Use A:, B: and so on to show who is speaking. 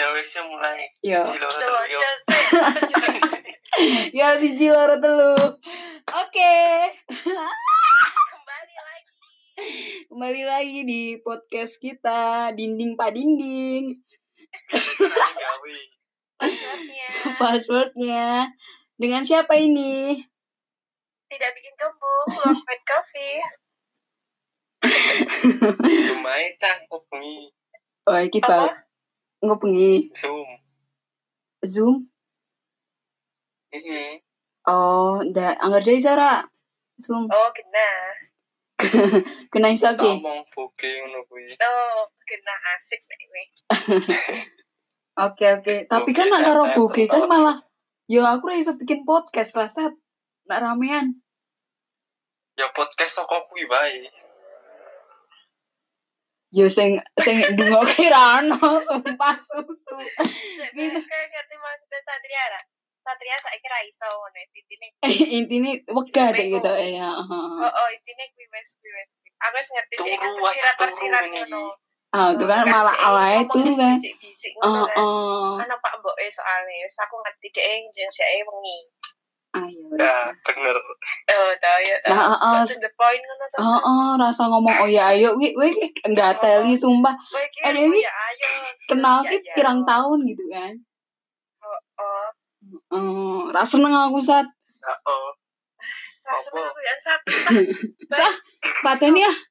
A: Ya wis ya mulai.
B: Yo.
A: Silo
C: Tuh,
A: terus, yo.
C: aja sih.
B: Ya siji loro telu. Oke.
C: Kembali lagi.
B: Kembali lagi di podcast kita Dinding Pak Dinding.
A: Mulai gawe.
C: Maksudnya,
B: Passwordnya dengan siapa ini?
C: Tidak bikin kembung, love with coffee.
A: Zoom ae cah bengi.
B: Oh, iki
C: Apa?
B: Pak. Ngopengi
A: Zoom.
B: Zoom.
A: Heeh.
B: Oh, ndak anggar dari Sara. Zoom.
C: Oh, genah.
B: Kena iso
A: Tak
B: ki.
A: omong boge ngono kuwi.
C: Oh, genah asik nih ini.
B: Oke, oke. Tapi kan
A: Boge,
B: nak karo
A: santai,
B: boge kan
A: santai.
B: malah yo aku ora iso bikin podcast lah Sat. Nak ramean.
A: Ya podcast saka kuwi wae.
B: Yo sing sing ndungoke ra ono sumpah susu.
C: Jadi, kayak ngerti maksudnya Satria, Ra. Satria saya kira iso, nih. Intinya,
B: intinya wegah deh
C: Bingung.
B: gitu ya. heeh.
C: oh, oh, intinya gue wes, gue wes. Aku wes ngerti
A: Turu,
C: deh, kan
A: wah,
C: tersirat-tersirat
A: turu
C: ngono.
B: Ah, itu kan malah awalnya turu kan.
C: Bisik-bisik
B: Oh,
C: ngono kan.
B: oh.
C: Ana Pak Mbok e soalnya, wes aku ngerti deh, jeng si E wengi.
B: Ayo.
A: Ya,
B: Ah, wis.
A: bener.
C: Oh, tau ya. tau.
B: Nah, oh,
C: Got to the point ngono tuh.
B: Oh, oh, rasa ngomong oh ya ayo, wi, wi, nggak teli sumpah
C: Kowe iki
B: Eh, Dewi,
C: ya ayo.
B: kenal
C: Ya,
B: ki
C: ya.
B: pirang tahun gitu kan.
C: Oh, oh.
B: Oh, rasa seneng aku saat
A: Ya oh.
C: Rasa
A: Apa?
C: aku yang satu.
B: pateni ah